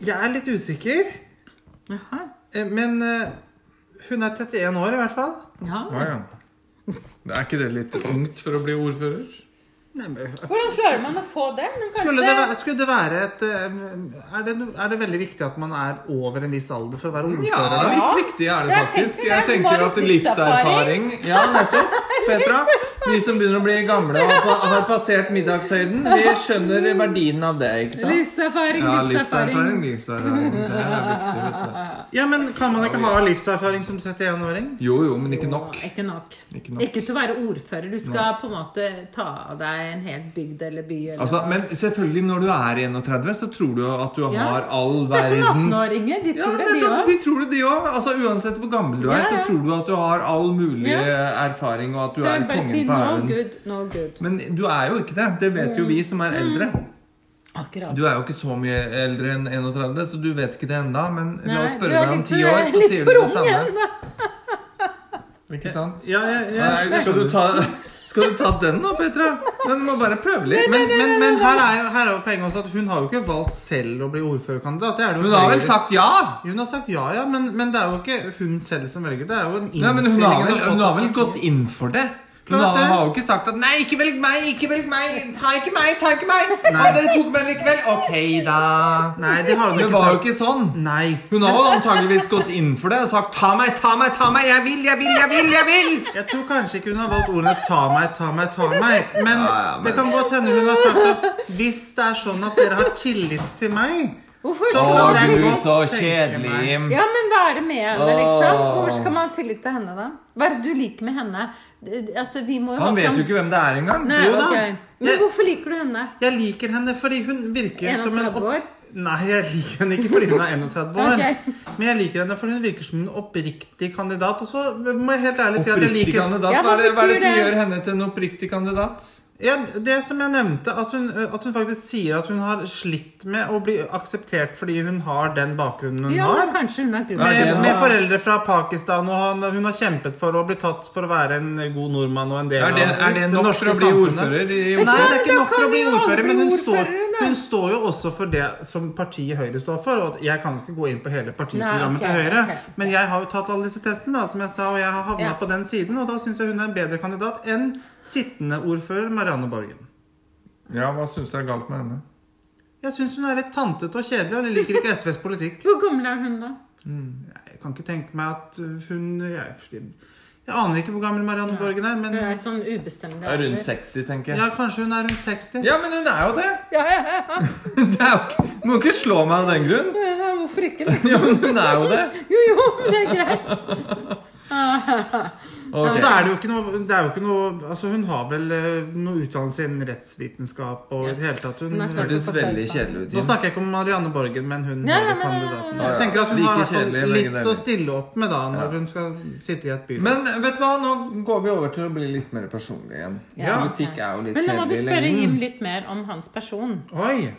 [SPEAKER 3] Jeg er litt usikker,
[SPEAKER 1] Jaha.
[SPEAKER 3] eh, men eh, hun er 31 år i hvert fall.
[SPEAKER 1] Ja.
[SPEAKER 2] Ja, ja. Er ikke det litt ungt for å bli ordfører?
[SPEAKER 3] Nei, men
[SPEAKER 1] Hvordan klarer man å få det? Men kanskje...
[SPEAKER 3] Skulle det, være, skulle det være et eh, er det, no- er det veldig viktig at man er over en viss alder for å være
[SPEAKER 2] Ja,
[SPEAKER 3] ordfører?
[SPEAKER 1] Ja.
[SPEAKER 2] litt viktig er det
[SPEAKER 1] Jeg
[SPEAKER 2] faktisk.
[SPEAKER 1] tenker det.
[SPEAKER 2] Jeg
[SPEAKER 1] Du har
[SPEAKER 2] tenker
[SPEAKER 1] litt
[SPEAKER 2] at livserfaring Ja, nettopp. Petra. Vi som begynner å bli gamle og pa- har passert middagshøyden, vi skjønner verdien av det, ikke sant?
[SPEAKER 1] Livserfaring,
[SPEAKER 2] Ja,
[SPEAKER 1] livserfaring.
[SPEAKER 2] livserfaring, livserfaring. Det er viktig, vet du.
[SPEAKER 3] Ja, men Kan man ikke ha livserfaring som 31-åring?
[SPEAKER 2] Jo, jo, men ikke nok.
[SPEAKER 1] Å, Ikke nok.
[SPEAKER 2] Ikke nok.
[SPEAKER 1] Ikke til å være ordfører. Du skal på en måte ta av deg en hel bygd eller by. Eller.
[SPEAKER 2] Altså, men selvfølgelig, når du er 31, så tror du at du
[SPEAKER 1] Ja.
[SPEAKER 2] har all
[SPEAKER 1] det er som
[SPEAKER 2] verdens
[SPEAKER 1] 18-åringer. De
[SPEAKER 2] ja,
[SPEAKER 1] tror det, de òg.
[SPEAKER 2] nettopp, de tror det, de òg. Altså, uansett hvor gammel du er,
[SPEAKER 1] Ja,
[SPEAKER 2] så
[SPEAKER 1] ja.
[SPEAKER 2] tror du at du har all mulig
[SPEAKER 1] Ja.
[SPEAKER 2] eh, erfaring, og at du
[SPEAKER 1] Så
[SPEAKER 2] er
[SPEAKER 1] jeg bare sier
[SPEAKER 2] kongen på
[SPEAKER 1] no
[SPEAKER 2] haugen.
[SPEAKER 1] good, no good.
[SPEAKER 2] Men du er jo ikke det. Det vet
[SPEAKER 1] Mm.
[SPEAKER 2] jo vi som er eldre.
[SPEAKER 1] Akkurat.
[SPEAKER 2] Du er jo ikke så mye eldre enn 31, så du vet ikke det enda Men la oss
[SPEAKER 1] Nei, du
[SPEAKER 2] spørre
[SPEAKER 1] er
[SPEAKER 2] deg om
[SPEAKER 1] litt-
[SPEAKER 2] ti år, så
[SPEAKER 1] litt
[SPEAKER 2] sier
[SPEAKER 1] for
[SPEAKER 2] du det
[SPEAKER 1] ung
[SPEAKER 2] samme.
[SPEAKER 1] igjen.
[SPEAKER 2] Ikke sant?
[SPEAKER 3] Ja, jeg, jeg,
[SPEAKER 2] Nei, skal, du ta, skal du ta den nå, Petra? Den må bare prøve litt.
[SPEAKER 3] men, men, men her er, her er jo poenget også at hun har jo ikke valgt selv å bli ordførerkandidat. Det er det jo
[SPEAKER 2] Hun har vel
[SPEAKER 3] Høyre-
[SPEAKER 2] sagt ja?
[SPEAKER 3] Hun har sagt ja, ja, men, men det er jo ikke hun selv som velger. Det er jo en innstilling
[SPEAKER 2] Nei, men hun har, vel,
[SPEAKER 3] fått.
[SPEAKER 2] hun har vel gått inn for det? Hun har,
[SPEAKER 3] Klart det.
[SPEAKER 2] har jo ikke sagt at 'nei, ikke velg meg, ikke velg meg', ta ikke meg, ta ikke meg'. Nei,
[SPEAKER 3] Nei.
[SPEAKER 2] dere tok meg likevel. Ok, da.
[SPEAKER 3] Nei, det har hun
[SPEAKER 2] Det
[SPEAKER 3] ikke
[SPEAKER 2] var jo
[SPEAKER 3] sagt.
[SPEAKER 2] ikke sånn.
[SPEAKER 3] Nei.
[SPEAKER 2] Hun har jo antageligvis gått inn for det og sagt 'ta meg, ta meg, ta meg', jeg vil, jeg vil, jeg vil'. jeg vil
[SPEAKER 3] Jeg tror kanskje ikke hun har valgt ordene 'ta meg, ta meg, ta meg'. Men,
[SPEAKER 2] Ja, ja, men-
[SPEAKER 3] det kan godt hende hun har sagt at hvis det er sånn at dere har tillit til meg
[SPEAKER 1] Hvorfor
[SPEAKER 3] Så
[SPEAKER 1] skal
[SPEAKER 2] Å,
[SPEAKER 1] man
[SPEAKER 3] kan jeg
[SPEAKER 2] gud,
[SPEAKER 3] godt
[SPEAKER 2] så
[SPEAKER 3] tenke
[SPEAKER 2] kjedelig,
[SPEAKER 3] meg.
[SPEAKER 2] Jim.
[SPEAKER 1] Ja, men hva er det med henne, liksom?
[SPEAKER 2] Åh.
[SPEAKER 1] Hvorfor skal man ha tillit til henne, da? Hva er det du liker med henne? Det- Altså, vi må jo ha
[SPEAKER 2] Han vet
[SPEAKER 1] fram-
[SPEAKER 2] jo ikke hvem det er engang.
[SPEAKER 1] Nei,
[SPEAKER 3] Jo da.
[SPEAKER 1] ok. Men
[SPEAKER 3] Jeg-
[SPEAKER 1] hvorfor liker du henne?
[SPEAKER 3] Jeg liker henne fordi hun virker som en
[SPEAKER 1] 31
[SPEAKER 3] opp...
[SPEAKER 1] år?
[SPEAKER 3] Nei, jeg liker henne ikke fordi hun er 31 år.
[SPEAKER 1] Ok.
[SPEAKER 3] Men jeg liker henne fordi hun virker som en oppriktig kandidat. Og så må jeg helt ærlig si at jeg
[SPEAKER 2] Oppriktig
[SPEAKER 3] liker
[SPEAKER 2] kandidat.
[SPEAKER 1] Ja,
[SPEAKER 2] Hva er det, hva er det
[SPEAKER 1] betyr
[SPEAKER 2] som
[SPEAKER 1] det?
[SPEAKER 2] gjør henne til en oppriktig kandidat?
[SPEAKER 3] ja, Det som jeg nevnte, at hun, at hun faktisk sier at hun har slitt med å bli akseptert fordi hun har den bakgrunnen hun
[SPEAKER 1] Ja, men
[SPEAKER 3] har.
[SPEAKER 1] kanskje hun er
[SPEAKER 2] Ja,
[SPEAKER 1] grunnen.
[SPEAKER 3] Med,
[SPEAKER 2] det da.
[SPEAKER 3] med foreldre fra Pakistan, og han, hun har kjempet for å bli tatt for å være en god nordmann og en del
[SPEAKER 2] Er det, er
[SPEAKER 3] av
[SPEAKER 2] det nok for å bli
[SPEAKER 3] samfunnet.
[SPEAKER 2] ordfører i
[SPEAKER 1] Men-
[SPEAKER 2] Oslo?
[SPEAKER 3] Nei, det er ikke
[SPEAKER 1] Da
[SPEAKER 3] nok for
[SPEAKER 1] kan
[SPEAKER 3] å bli
[SPEAKER 1] jo alle
[SPEAKER 3] ordfører,
[SPEAKER 1] bli
[SPEAKER 3] men hun står,
[SPEAKER 1] ordførere, da.
[SPEAKER 3] hun står jo også for det som partiet Høyre står for. Og jeg kan ikke gå inn på hele partiprogrammet
[SPEAKER 1] Nei, ok,
[SPEAKER 3] til Høyre,
[SPEAKER 1] ok.
[SPEAKER 3] men jeg har jo tatt alle disse testene, da, som jeg sa, og jeg har havna
[SPEAKER 1] Ja.
[SPEAKER 3] på den siden, og da syns jeg hun er en bedre kandidat enn sittende ordfører Marianne Borgen.
[SPEAKER 2] Ja, hva syns jeg er galt med henne?
[SPEAKER 3] Jeg syns hun er litt tantete og kjedelig, og jeg liker ikke SVs politikk.
[SPEAKER 1] Hvor gammel er hun, da?
[SPEAKER 3] Jeg kan ikke tenke meg at hun Jeg, jeg aner ikke hvor gammel Marianne Borgen er,
[SPEAKER 1] Hun
[SPEAKER 3] men
[SPEAKER 1] er sånn ubestemt.
[SPEAKER 2] Er rundt 60, tenker
[SPEAKER 3] ja,
[SPEAKER 2] jeg.
[SPEAKER 3] kanskje hun er rundt 60.
[SPEAKER 2] Ja, men hun er jo det!
[SPEAKER 1] Ja, ja, ja.
[SPEAKER 2] det er jo ikke, du må ikke slå meg av den grunn.
[SPEAKER 1] ja, Hvorfor ikke, liksom?
[SPEAKER 2] Ja, men hun er jo det.
[SPEAKER 1] Jo, jo, men det er greit.
[SPEAKER 2] Ok.
[SPEAKER 3] Og så er det jo ikke noe, det er jo ikke noe altså Hun har vel eh, noe utdannelse innen rettsvitenskap og i
[SPEAKER 1] Yes.
[SPEAKER 3] det hele tatt. Hun,
[SPEAKER 1] Hun er klar.
[SPEAKER 2] Hørtes veldig kjedelig ut.
[SPEAKER 3] nå
[SPEAKER 2] Jim.
[SPEAKER 3] snakker jeg ikke om Marianne Borgen, men hun
[SPEAKER 1] Ja, ja,
[SPEAKER 3] ja,
[SPEAKER 1] men-
[SPEAKER 3] kandidaten.
[SPEAKER 2] Ja, ja.
[SPEAKER 3] Jeg tenker at hun
[SPEAKER 2] Like
[SPEAKER 3] har i hvert fall
[SPEAKER 2] kjedelig, begge
[SPEAKER 3] litt
[SPEAKER 2] deler.
[SPEAKER 3] å stille opp med da når
[SPEAKER 2] Ja.
[SPEAKER 3] hun skal sitte i et byråd.
[SPEAKER 2] Men vet du hva, nå går vi over til å bli litt mer personlig igjen.
[SPEAKER 1] Ja, ok.
[SPEAKER 2] Politikk er jo litt
[SPEAKER 1] Men nå må du
[SPEAKER 2] kjedelig
[SPEAKER 1] spørre Jim litt mer om hans person.
[SPEAKER 3] Oi!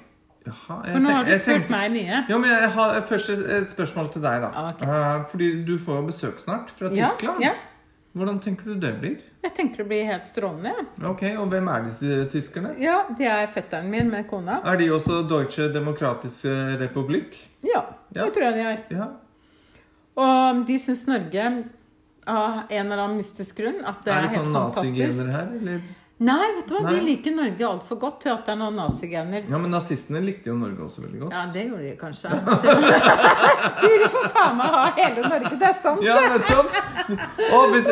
[SPEAKER 2] Jaha, jeg
[SPEAKER 1] For nå
[SPEAKER 2] tenk-
[SPEAKER 1] har du
[SPEAKER 2] jeg
[SPEAKER 1] spurt
[SPEAKER 2] tenkte-
[SPEAKER 1] meg mye.
[SPEAKER 2] Ja, men jeg har Første eh, spørsmål til deg, da.
[SPEAKER 1] Ah, ok.
[SPEAKER 2] Eh, Fordi du får jo besøk snart fra
[SPEAKER 1] Ja,
[SPEAKER 2] Tyskland.
[SPEAKER 1] ja.
[SPEAKER 2] Hvordan tenker du det blir?
[SPEAKER 1] Jeg tenker det blir helt strålende. jeg.
[SPEAKER 2] Ok, Og hvem er disse tyskerne?
[SPEAKER 1] Ja, det er fetteren min med kona.
[SPEAKER 2] Er de også Deutsche Demokratiske Republikk?
[SPEAKER 1] Ja,
[SPEAKER 2] Ja.
[SPEAKER 1] det tror jeg de er.
[SPEAKER 2] Ja.
[SPEAKER 1] Og de syns Norge av en eller annen mystisk grunn at det
[SPEAKER 2] er,
[SPEAKER 1] er,
[SPEAKER 2] det
[SPEAKER 1] helt
[SPEAKER 2] sånn
[SPEAKER 1] fantastisk.
[SPEAKER 2] nazigener her, eller?
[SPEAKER 1] Nei, vet du hva? de
[SPEAKER 2] Nei.
[SPEAKER 1] liker Norge altfor godt til at det er noen nazigener.
[SPEAKER 2] Ja, men nazistene likte jo Norge også veldig godt.
[SPEAKER 1] Ja, det gjorde de kanskje. Selv om- De ville for faen meg ha hele Norge, det er sant!
[SPEAKER 2] Ja, nettopp! Og vet-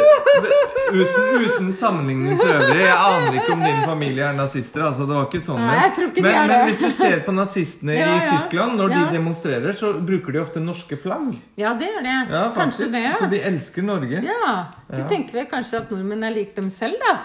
[SPEAKER 2] uten, uten sammenligning for øvrig. Jeg aner ikke om din familie er nazister. Altså, det var ikke sånn
[SPEAKER 1] Nei, jeg tror ikke de
[SPEAKER 2] men,
[SPEAKER 1] er
[SPEAKER 2] men
[SPEAKER 1] det.
[SPEAKER 2] hvis du ser på nazistene
[SPEAKER 1] Ja,
[SPEAKER 2] i
[SPEAKER 1] ja.
[SPEAKER 2] Tyskland, når
[SPEAKER 1] Ja.
[SPEAKER 2] de demonstrerer, så bruker de ofte norske flagg.
[SPEAKER 1] Ja, det gjør det.
[SPEAKER 2] Ja,
[SPEAKER 1] kanskje
[SPEAKER 2] faktisk.
[SPEAKER 1] det.
[SPEAKER 2] Så de elsker Norge.
[SPEAKER 1] Ja, De tenker vel kanskje at nordmenn er lik dem selv, da.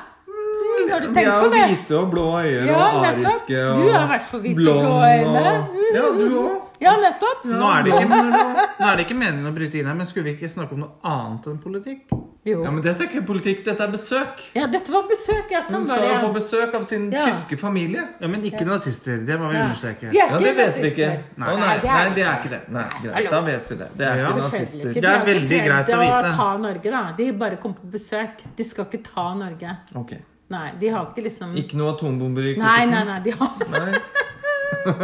[SPEAKER 1] Mm, har du
[SPEAKER 2] Vi
[SPEAKER 1] tenkt
[SPEAKER 2] har
[SPEAKER 1] på
[SPEAKER 2] jo
[SPEAKER 1] det?
[SPEAKER 2] hvite og blå øyne
[SPEAKER 1] Ja,
[SPEAKER 2] og
[SPEAKER 1] nettopp.
[SPEAKER 2] ariske og
[SPEAKER 1] Du har i hvert fall hvite og blå
[SPEAKER 2] blond og-
[SPEAKER 1] øyne. Mm,
[SPEAKER 2] Ja, du òg.
[SPEAKER 1] Ja, nettopp.
[SPEAKER 3] Nå er, det ikke,
[SPEAKER 2] ikke
[SPEAKER 3] nå er det ikke meningen å bryte inn her, men skulle vi ikke snakke om noe annet enn politikk?
[SPEAKER 1] Jo.
[SPEAKER 2] Ja, men Dette er ikke politikk, dette er besøk.
[SPEAKER 1] Ja, dette var besøk, ja.
[SPEAKER 2] Hun
[SPEAKER 1] Sånn var
[SPEAKER 2] skal
[SPEAKER 1] det.
[SPEAKER 2] jo
[SPEAKER 1] ja.
[SPEAKER 2] få besøk av sin
[SPEAKER 1] Ja.
[SPEAKER 2] tyske familie.
[SPEAKER 3] Ja, Men ikke nazister. Det må vi
[SPEAKER 1] Ja.
[SPEAKER 3] understreke.
[SPEAKER 1] De er
[SPEAKER 2] Ja,
[SPEAKER 1] ikke
[SPEAKER 2] Det vet vi ikke.
[SPEAKER 1] nazister.
[SPEAKER 2] Å, nei,
[SPEAKER 1] det er
[SPEAKER 2] nei,
[SPEAKER 1] vi
[SPEAKER 2] det er ikke det. Nei,
[SPEAKER 1] Nei,
[SPEAKER 2] greit,
[SPEAKER 1] hallo.
[SPEAKER 2] da vet vi det. Det er
[SPEAKER 3] Ja.
[SPEAKER 2] ikke
[SPEAKER 1] Selvfølgelig ikke.
[SPEAKER 2] nazister.
[SPEAKER 1] De
[SPEAKER 3] Det er
[SPEAKER 1] har ikke
[SPEAKER 3] veldig greit å
[SPEAKER 1] prøvd
[SPEAKER 3] vite.
[SPEAKER 1] ta Norge, da. De bare kom på besøk. De skal ikke ta Norge.
[SPEAKER 2] Ok.
[SPEAKER 1] Nei, de har ikke liksom
[SPEAKER 2] Ikke noe atombomber
[SPEAKER 1] Nei,
[SPEAKER 2] i kofferten?
[SPEAKER 1] nei, nei. De har
[SPEAKER 2] Nei.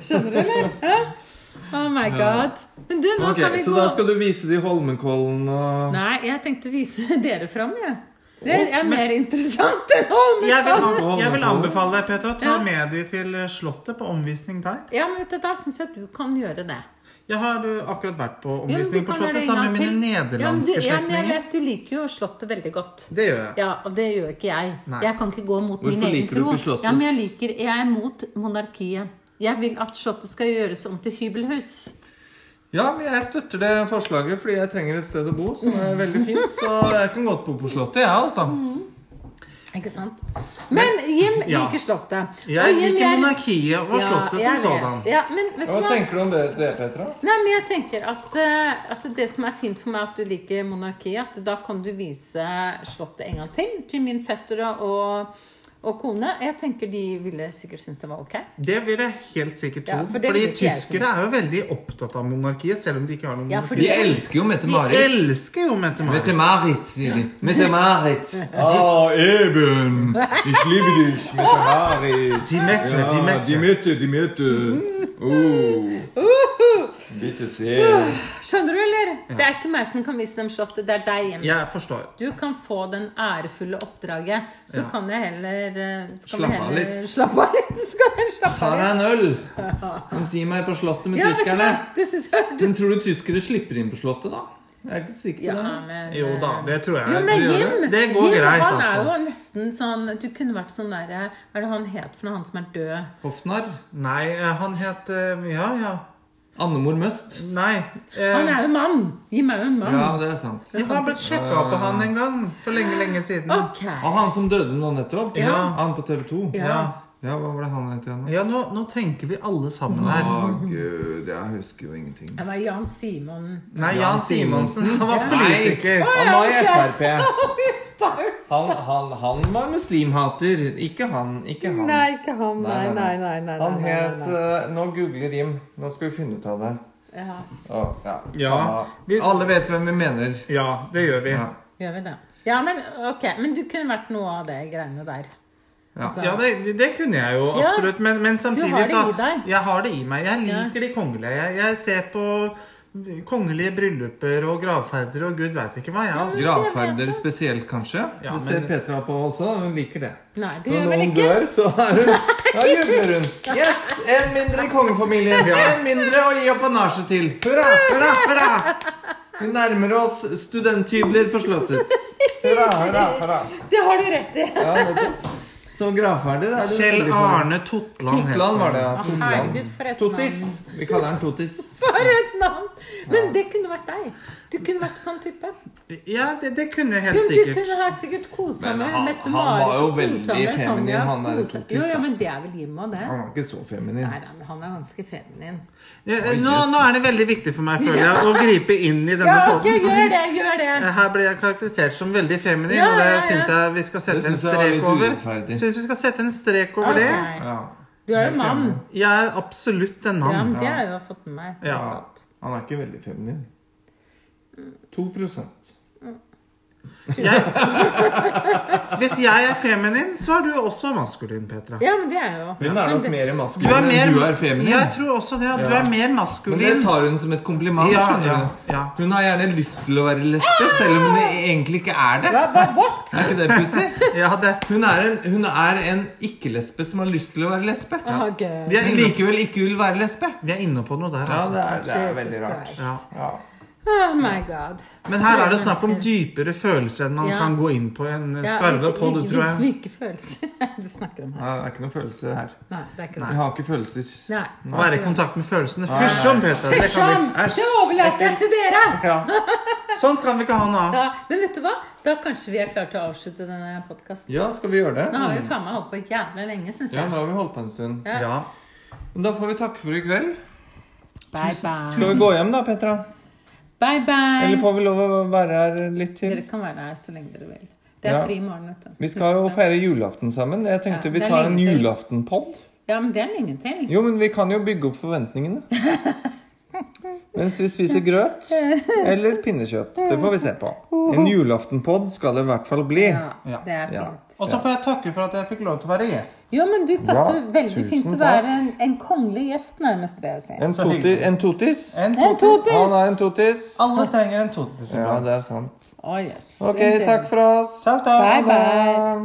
[SPEAKER 1] Skjønner du, eller? Hæ? Oh my god. Men du, nå
[SPEAKER 2] Ok,
[SPEAKER 1] kan vi
[SPEAKER 2] Så
[SPEAKER 1] gå
[SPEAKER 2] da skal du vise de Holmenkollen og
[SPEAKER 1] Nei, jeg tenkte å vise dere fram, jeg. Det er mer interessant enn Holmenkollen.
[SPEAKER 3] Jeg vil, an- jeg vil anbefale deg, Petra, å ta
[SPEAKER 1] Ja.
[SPEAKER 3] med de til Slottet på omvisning der.
[SPEAKER 1] Ja, men vet du, da syns jeg at du kan gjøre det.
[SPEAKER 3] Jeg har eh, akkurat vært på
[SPEAKER 1] Ja, men du
[SPEAKER 3] omvisning på
[SPEAKER 1] kan gjøre
[SPEAKER 3] Slottet
[SPEAKER 1] det en
[SPEAKER 3] sammen med
[SPEAKER 1] gang til.
[SPEAKER 3] mine
[SPEAKER 1] Ja, men du-
[SPEAKER 3] nederlandske
[SPEAKER 1] Ja, men jeg
[SPEAKER 3] slektninger.
[SPEAKER 1] vet du liker jo Slottet veldig godt.
[SPEAKER 3] Det gjør jeg.
[SPEAKER 1] Ja, og det gjør ikke jeg.
[SPEAKER 3] Nei.
[SPEAKER 1] Jeg kan ikke gå mot min
[SPEAKER 2] Hvorfor
[SPEAKER 1] egen
[SPEAKER 2] liker du
[SPEAKER 1] tro.
[SPEAKER 2] ikke Slottet?
[SPEAKER 1] Ja, men jeg liker Jeg er mot monarkiet. Jeg vil at Slottet skal gjøres om til hybelhus.
[SPEAKER 2] Ja, men jeg støtter det forslaget fordi jeg trenger et sted å bo som er veldig fint. Så jeg kan godt bo på Slottet, jeg, ja, altså.
[SPEAKER 1] Mm. Ikke sant? Men Jim
[SPEAKER 3] Ja.
[SPEAKER 1] liker Slottet.
[SPEAKER 3] Jeg
[SPEAKER 1] Og Jim,
[SPEAKER 3] liker
[SPEAKER 1] jeg-
[SPEAKER 3] monarkiet og
[SPEAKER 1] Ja,
[SPEAKER 3] Slottet
[SPEAKER 1] jeg
[SPEAKER 3] som
[SPEAKER 1] vet.
[SPEAKER 3] sådan.
[SPEAKER 1] Ja, men vet
[SPEAKER 2] Hva
[SPEAKER 1] du hva?
[SPEAKER 2] tenker du om det, det Petra?
[SPEAKER 1] Nei, men jeg tenker at eh, altså Det som er fint for meg, at du liker monarkiet, at da kan du vise Slottet en gang til til min fetter og, og kone. Jeg tenker de ville sikkert synes det var ok.
[SPEAKER 3] Det vil jeg helt sikkert tro.
[SPEAKER 1] Ja, for det
[SPEAKER 3] fordi
[SPEAKER 1] vil ikke jeg
[SPEAKER 3] tyskere
[SPEAKER 1] synes.
[SPEAKER 3] er jo veldig opptatt av monarkiet, selv om de ikke har noe
[SPEAKER 1] Ja,
[SPEAKER 3] monarki.
[SPEAKER 1] fordi-
[SPEAKER 2] De elsker jo
[SPEAKER 3] De
[SPEAKER 2] Mette-Marit.
[SPEAKER 3] elsker jo Mette-Marit.
[SPEAKER 2] Mette-Marit, sier de. Mette-Marit. Å, Ah, Eben. Ich liebe dich, Mette-Marit.
[SPEAKER 3] De Mette, de Mette.
[SPEAKER 2] Mette, de Mette. Oh. Bitte se.
[SPEAKER 1] Skjønner du, eller? Det er ikke meg som kan vise dem slottet, det er deg. Jim.
[SPEAKER 3] Jeg forstår.
[SPEAKER 1] Du kan få den ærefulle oppdraget, så
[SPEAKER 3] Ja.
[SPEAKER 1] kan jeg heller eh, så kan
[SPEAKER 2] Slappe
[SPEAKER 1] jeg
[SPEAKER 2] av
[SPEAKER 1] heller-
[SPEAKER 2] litt.
[SPEAKER 1] Slappe av litt. Så kan jeg slappe
[SPEAKER 2] Ta
[SPEAKER 1] av
[SPEAKER 2] deg
[SPEAKER 1] litt.
[SPEAKER 2] en øl. Men si meg på Slottet med
[SPEAKER 1] Ja, vet du
[SPEAKER 2] tyskerne.
[SPEAKER 1] hva? Det synes jeg
[SPEAKER 2] Men
[SPEAKER 1] hørtes
[SPEAKER 2] tror du tyskere slipper inn på Slottet, da? Jeg er ikke sikker på
[SPEAKER 1] ja,
[SPEAKER 2] det.
[SPEAKER 1] men, eh,
[SPEAKER 3] Jo da, det tror jeg.
[SPEAKER 1] jo, men
[SPEAKER 3] du gjør
[SPEAKER 1] Jim,
[SPEAKER 3] det. det går
[SPEAKER 1] Jim,
[SPEAKER 3] greit,
[SPEAKER 1] han er
[SPEAKER 3] altså.
[SPEAKER 1] jo nesten sånn Du kunne vært sånn derre Hva er det han het for noe, han som er død?
[SPEAKER 2] Hoffnarr.
[SPEAKER 3] Nei, eh, han het eh, Ja, ja.
[SPEAKER 2] Andemor Møst.
[SPEAKER 3] Nei. eh,
[SPEAKER 1] Han er jo mann! Jim er jo en mann.
[SPEAKER 2] Ja, det er sant.
[SPEAKER 3] Jeg har blitt sjekka på han en gang for lenge, lenge siden.
[SPEAKER 1] Ok.
[SPEAKER 2] Og han som døde nå nettopp?
[SPEAKER 3] Ja.
[SPEAKER 2] Han på TV 2?
[SPEAKER 1] Ja.
[SPEAKER 3] Ja,
[SPEAKER 2] Ja, hva var det han het igjen? da?
[SPEAKER 3] ja nå, nå tenker vi alle sammen
[SPEAKER 2] Å,
[SPEAKER 3] her.
[SPEAKER 2] gud, jeg husker jo ingenting.
[SPEAKER 1] Det var Jan Simon
[SPEAKER 3] Nei, Jan Simonsen. Han var politiker.
[SPEAKER 2] Nei, han var i Frp.
[SPEAKER 1] Uff da, uff.
[SPEAKER 2] Han, han, han var muslimhater. Ikke han. Ikke han.
[SPEAKER 1] Nei, ikke han. Nei, nei, nei. nei, nei,
[SPEAKER 2] Han
[SPEAKER 1] nei,
[SPEAKER 2] het
[SPEAKER 1] nei.
[SPEAKER 2] eh, Nå googler Jim. Nå skal vi finne ut av det.
[SPEAKER 1] Ja,
[SPEAKER 2] Å, ja.
[SPEAKER 3] Ja,
[SPEAKER 2] samme.
[SPEAKER 3] vi-
[SPEAKER 2] Alle vet hvem vi mener.
[SPEAKER 3] Ja, det gjør vi.
[SPEAKER 2] Ja.
[SPEAKER 1] gjør vi det? Ja, men ok, men du kunne vært noe av det greiene der. Altså,
[SPEAKER 2] Ja.
[SPEAKER 3] Ja, det, det kunne jeg jo
[SPEAKER 1] Ja.
[SPEAKER 3] absolutt, men, men samtidig
[SPEAKER 1] har det
[SPEAKER 3] så
[SPEAKER 1] i deg.
[SPEAKER 3] Jeg har det i meg. Jeg
[SPEAKER 1] Ja.
[SPEAKER 3] liker de kongelige. Jeg, jeg ser på kongelige brylluper og gravferder og gud veit ikke hva, jeg. Altså.
[SPEAKER 2] Gravferder spesielt, kanskje.
[SPEAKER 3] Ja,
[SPEAKER 2] det ser
[SPEAKER 3] men-
[SPEAKER 2] Petra på også. Hun liker det.
[SPEAKER 1] Nei, det
[SPEAKER 2] Når
[SPEAKER 1] gjør vel
[SPEAKER 2] noen
[SPEAKER 1] ikke
[SPEAKER 2] dør, så er hun Da jubler hun. Yes! En mindre i kongefamilien. En mindre å gi apanasje til. Hurra, hurra, hurra! Vi nærmer oss studenthybler på Slottet. Hurra, hurra, hurra.
[SPEAKER 1] Det har du rett i!
[SPEAKER 2] Ja, nettopp. så gravferder er det
[SPEAKER 3] Kjell
[SPEAKER 2] veldig for.
[SPEAKER 3] Arne Totland. het
[SPEAKER 2] Totland var det, ja.
[SPEAKER 1] Å,
[SPEAKER 2] Totland.
[SPEAKER 1] Herregud, for et
[SPEAKER 2] Totis.
[SPEAKER 1] navn.
[SPEAKER 2] Vi kaller han Totis.
[SPEAKER 1] For et navn! Men det kunne vært deg. Du kunne vært sånn type.
[SPEAKER 3] han. Ja, det, det kunne jeg helt
[SPEAKER 1] Jo, du kunne
[SPEAKER 3] sikkert.
[SPEAKER 1] ha sikkert kosa
[SPEAKER 2] Men
[SPEAKER 1] med
[SPEAKER 2] han-
[SPEAKER 1] Mette
[SPEAKER 2] han
[SPEAKER 1] Marit.
[SPEAKER 2] var jo
[SPEAKER 1] og kosa
[SPEAKER 2] veldig
[SPEAKER 1] med
[SPEAKER 2] feminin,
[SPEAKER 1] Sonja,
[SPEAKER 2] han der
[SPEAKER 1] kosa-
[SPEAKER 2] totis,
[SPEAKER 1] Jo,
[SPEAKER 2] da.
[SPEAKER 1] ja, men det er vel Jim og det.
[SPEAKER 2] Han var ikke så feminin.
[SPEAKER 1] Nei, nei, men han er ganske feminin.
[SPEAKER 3] Ja, Nå, nå er det veldig viktig for meg, føler jeg, å gripe inn i denne
[SPEAKER 1] Ja, ok,
[SPEAKER 3] podden, fordi-
[SPEAKER 1] gjør det! Gjør det!
[SPEAKER 3] Her ble jeg karakterisert som veldig feminin,
[SPEAKER 1] Ja,
[SPEAKER 3] og det
[SPEAKER 1] ja, ja.
[SPEAKER 3] syns jeg vi skal
[SPEAKER 2] Det
[SPEAKER 3] sette en
[SPEAKER 2] synes jeg var litt
[SPEAKER 3] strek over.
[SPEAKER 2] urettferdig.
[SPEAKER 3] Syns vi skal sette en strek over det.
[SPEAKER 1] Ok.
[SPEAKER 2] Ja.
[SPEAKER 1] Du er
[SPEAKER 2] Helt
[SPEAKER 1] jo mann.
[SPEAKER 2] enig.
[SPEAKER 3] Jeg er absolutt en
[SPEAKER 1] Ja,
[SPEAKER 3] mann.
[SPEAKER 1] men det har jeg jo fått med meg. Det er
[SPEAKER 3] Ja.
[SPEAKER 1] sant.
[SPEAKER 2] Han er ikke veldig feminin. 2
[SPEAKER 3] Hvis jeg er feminin, så er du også maskulin, Petra.
[SPEAKER 1] Ja, men det er jeg jo.
[SPEAKER 2] Hun er nok mer
[SPEAKER 3] Du
[SPEAKER 2] maskulin
[SPEAKER 3] er mer,
[SPEAKER 2] enn du er feminin.
[SPEAKER 3] Jeg tror også det, at du
[SPEAKER 2] Ja.
[SPEAKER 3] er mer
[SPEAKER 2] Men det
[SPEAKER 3] maskulin.
[SPEAKER 2] tar hun som et kompliment.
[SPEAKER 3] Ja,
[SPEAKER 2] skjønner
[SPEAKER 3] ja,
[SPEAKER 2] du?
[SPEAKER 3] ja.
[SPEAKER 2] Hun har gjerne lyst til å være lesbe, selv om hun egentlig ikke er det.
[SPEAKER 1] Hva, hva, what?
[SPEAKER 2] Er ikke det pussig?
[SPEAKER 3] Ja, det.
[SPEAKER 2] Hun er en, hun er en ikke-lesbe som har lyst til å være lesbe,
[SPEAKER 1] Ok.
[SPEAKER 3] Vi, er
[SPEAKER 2] men
[SPEAKER 3] inne,
[SPEAKER 2] likevel ikke vil være lesbe.
[SPEAKER 3] vi er inne på noe der.
[SPEAKER 2] Ja,
[SPEAKER 3] Altså.
[SPEAKER 2] det er, det er
[SPEAKER 1] Jesus
[SPEAKER 2] veldig rart.
[SPEAKER 1] Christ.
[SPEAKER 3] Ja.
[SPEAKER 2] Ja.
[SPEAKER 1] Oh my god.
[SPEAKER 3] Men her er det
[SPEAKER 1] Sprø
[SPEAKER 3] snakk om
[SPEAKER 1] mennesker.
[SPEAKER 3] dypere følelser enn man
[SPEAKER 1] Ja.
[SPEAKER 3] kan gå inn på en
[SPEAKER 1] Ja,
[SPEAKER 3] skarve
[SPEAKER 1] hvilke-
[SPEAKER 3] podd,
[SPEAKER 1] hvilke-
[SPEAKER 3] tror jeg.
[SPEAKER 1] Hvilke følelser er det du snakker om her?
[SPEAKER 2] Nei, Det er ikke noen følelser her.
[SPEAKER 1] Nei, det er ikke
[SPEAKER 2] Vi
[SPEAKER 1] det.
[SPEAKER 2] har ikke følelser.
[SPEAKER 1] Nei.
[SPEAKER 3] Å være i kontakt med følelsene.
[SPEAKER 2] Nei,
[SPEAKER 3] Fysj om, Petra. Det kan
[SPEAKER 1] Hysjam!
[SPEAKER 3] vi-
[SPEAKER 1] Det overlater jeg til dere!
[SPEAKER 3] Ja. Sånt kan vi ikke ha noe av.
[SPEAKER 1] Ja, men vet du hva? Da kanskje vi er klare til å avslutte denne podkasten.
[SPEAKER 2] Ja, skal vi
[SPEAKER 1] Nå
[SPEAKER 2] gjøre det?
[SPEAKER 1] har vi faen meg holdt på jævlig lenge, syns
[SPEAKER 2] Ja,
[SPEAKER 1] jeg.
[SPEAKER 2] nå har vi holdt på en stund.
[SPEAKER 1] Ja.
[SPEAKER 3] Ja.
[SPEAKER 2] Men Da får vi takke for i kveld.
[SPEAKER 1] Bye bye.
[SPEAKER 2] Skal vi gå hjem da, Petra?
[SPEAKER 1] Bye
[SPEAKER 2] Eller
[SPEAKER 1] bye.
[SPEAKER 2] får vi lov å være her litt til?
[SPEAKER 1] Dere kan være her så lenge dere vil. Det er
[SPEAKER 2] Ja.
[SPEAKER 1] fri i morgen, vet du.
[SPEAKER 2] Vi skal jo
[SPEAKER 1] Husk det.
[SPEAKER 2] feire julaften sammen. Jeg tenkte
[SPEAKER 1] Ja,
[SPEAKER 2] vi
[SPEAKER 1] det er
[SPEAKER 2] tar en
[SPEAKER 1] lenge til.
[SPEAKER 2] julaftenpodd.
[SPEAKER 1] Ja, men det er lenge til.
[SPEAKER 2] Jo, men vi kan jo bygge opp forventningene. Mens vi spiser grøt eller pinnekjøtt. Det får vi se på. En julaftenpod skal det i hvert fall bli.
[SPEAKER 1] Ja, det er
[SPEAKER 2] Ja.
[SPEAKER 1] fint.
[SPEAKER 3] Og så får jeg takke for at jeg fikk lov til å være gjest.
[SPEAKER 1] Jo, men du passer
[SPEAKER 2] Bra.
[SPEAKER 1] veldig
[SPEAKER 2] Tusen
[SPEAKER 1] fint å
[SPEAKER 2] takk.
[SPEAKER 1] være en, en kongelig gjest, nærmest, vil jeg si.
[SPEAKER 2] En,
[SPEAKER 3] Så
[SPEAKER 2] toti,
[SPEAKER 3] hyggelig.
[SPEAKER 2] en totis.
[SPEAKER 3] En
[SPEAKER 1] En totis!
[SPEAKER 2] Han er en totis.
[SPEAKER 3] Alle trenger en totis.
[SPEAKER 2] Ja, det er sant.
[SPEAKER 1] Å, yes.
[SPEAKER 2] Ok,
[SPEAKER 1] En til.
[SPEAKER 2] takk for oss.
[SPEAKER 3] Takk, takk.
[SPEAKER 1] Bye, bye.